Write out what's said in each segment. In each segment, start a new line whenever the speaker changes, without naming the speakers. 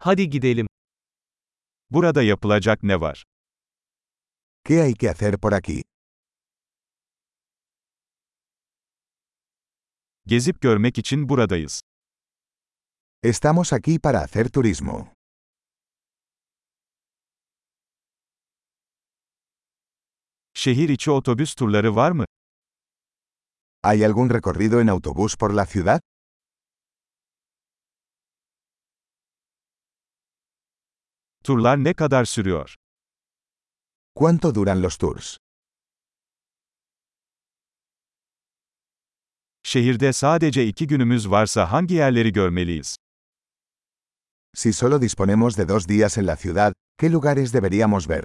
Hadi gidelim.
Burada yapılacak ne var?
¿Qué hay que hacer por aquí?
Gezip görmek için buradayız.
Estamos aquí para hacer turismo.
Şehir içi otobüs turları var mı?
¿Hay algún recorrido en autobús por la ciudad?
Turlar ne kadar sürüyor?
¿Cuánto duran los tours?
Şehirde sadece iki günümüz varsa hangi yerleri görmeliyiz?
Si solo disponemos de dos días en la ciudad, ¿qué lugares deberíamos ver?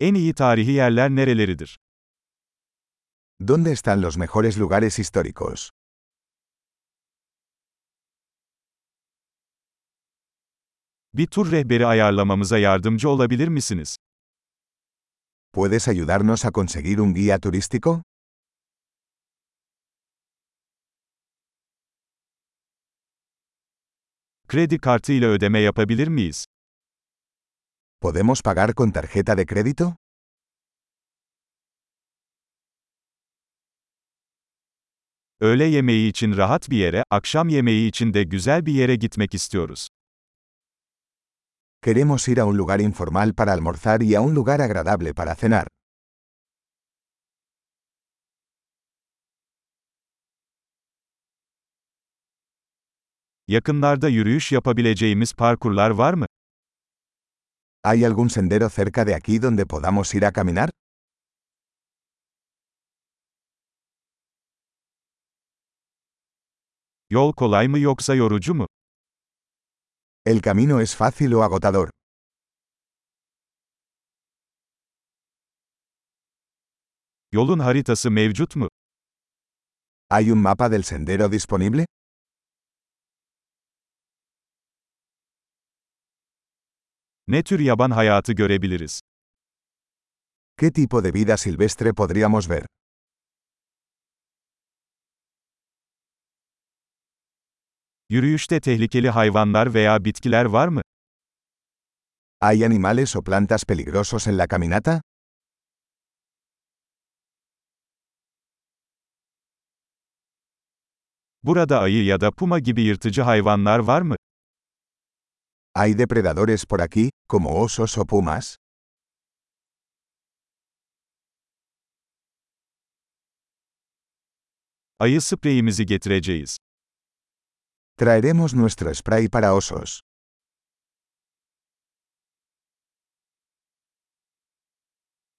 En iyi tarihi yerler nereleridir?
¿Dónde están los mejores lugares históricos?
Bir tur rehberi ayarlamamıza yardımcı olabilir misiniz?
¿Puedes ayudarnos a conseguir un guía turístico?
Kredi kartı ile ödeme yapabilir miyiz?
¿Podemos pagar con tarjeta de crédito?
Öğle yemeği için rahat bir yere, akşam yemeği için de güzel bir yere gitmek istiyoruz.
Queremos ir a un lugar informal para almorzar y a un lugar agradable para cenar.
Yakınlarda yürüyüş yapabileceğimiz parkurlar var mı?
¿Hay algún sendero cerca de aquí donde podamos ir a caminar?
Yol kolay mı yoksa yorucu mu?
¿El camino es fácil o agotador?
Yolun haritası mevcut mu?
¿Hay un mapa del sendero disponible?
Ne tür yaban hayatı görebiliriz?
¿Qué tipo de vida silvestre podríamos ver?
Yürüyüşte tehlikeli hayvanlar veya bitkiler var mı?
¿Hay animales o plantas peligrosos en la caminata?
Burada ayı ya da puma gibi yırtıcı hayvanlar var mı?
¿Hay depredadores por aquí, como osos o pumas?
Ayı spreyimizi getireceğiz.
Traeremos nuestro spray para osos.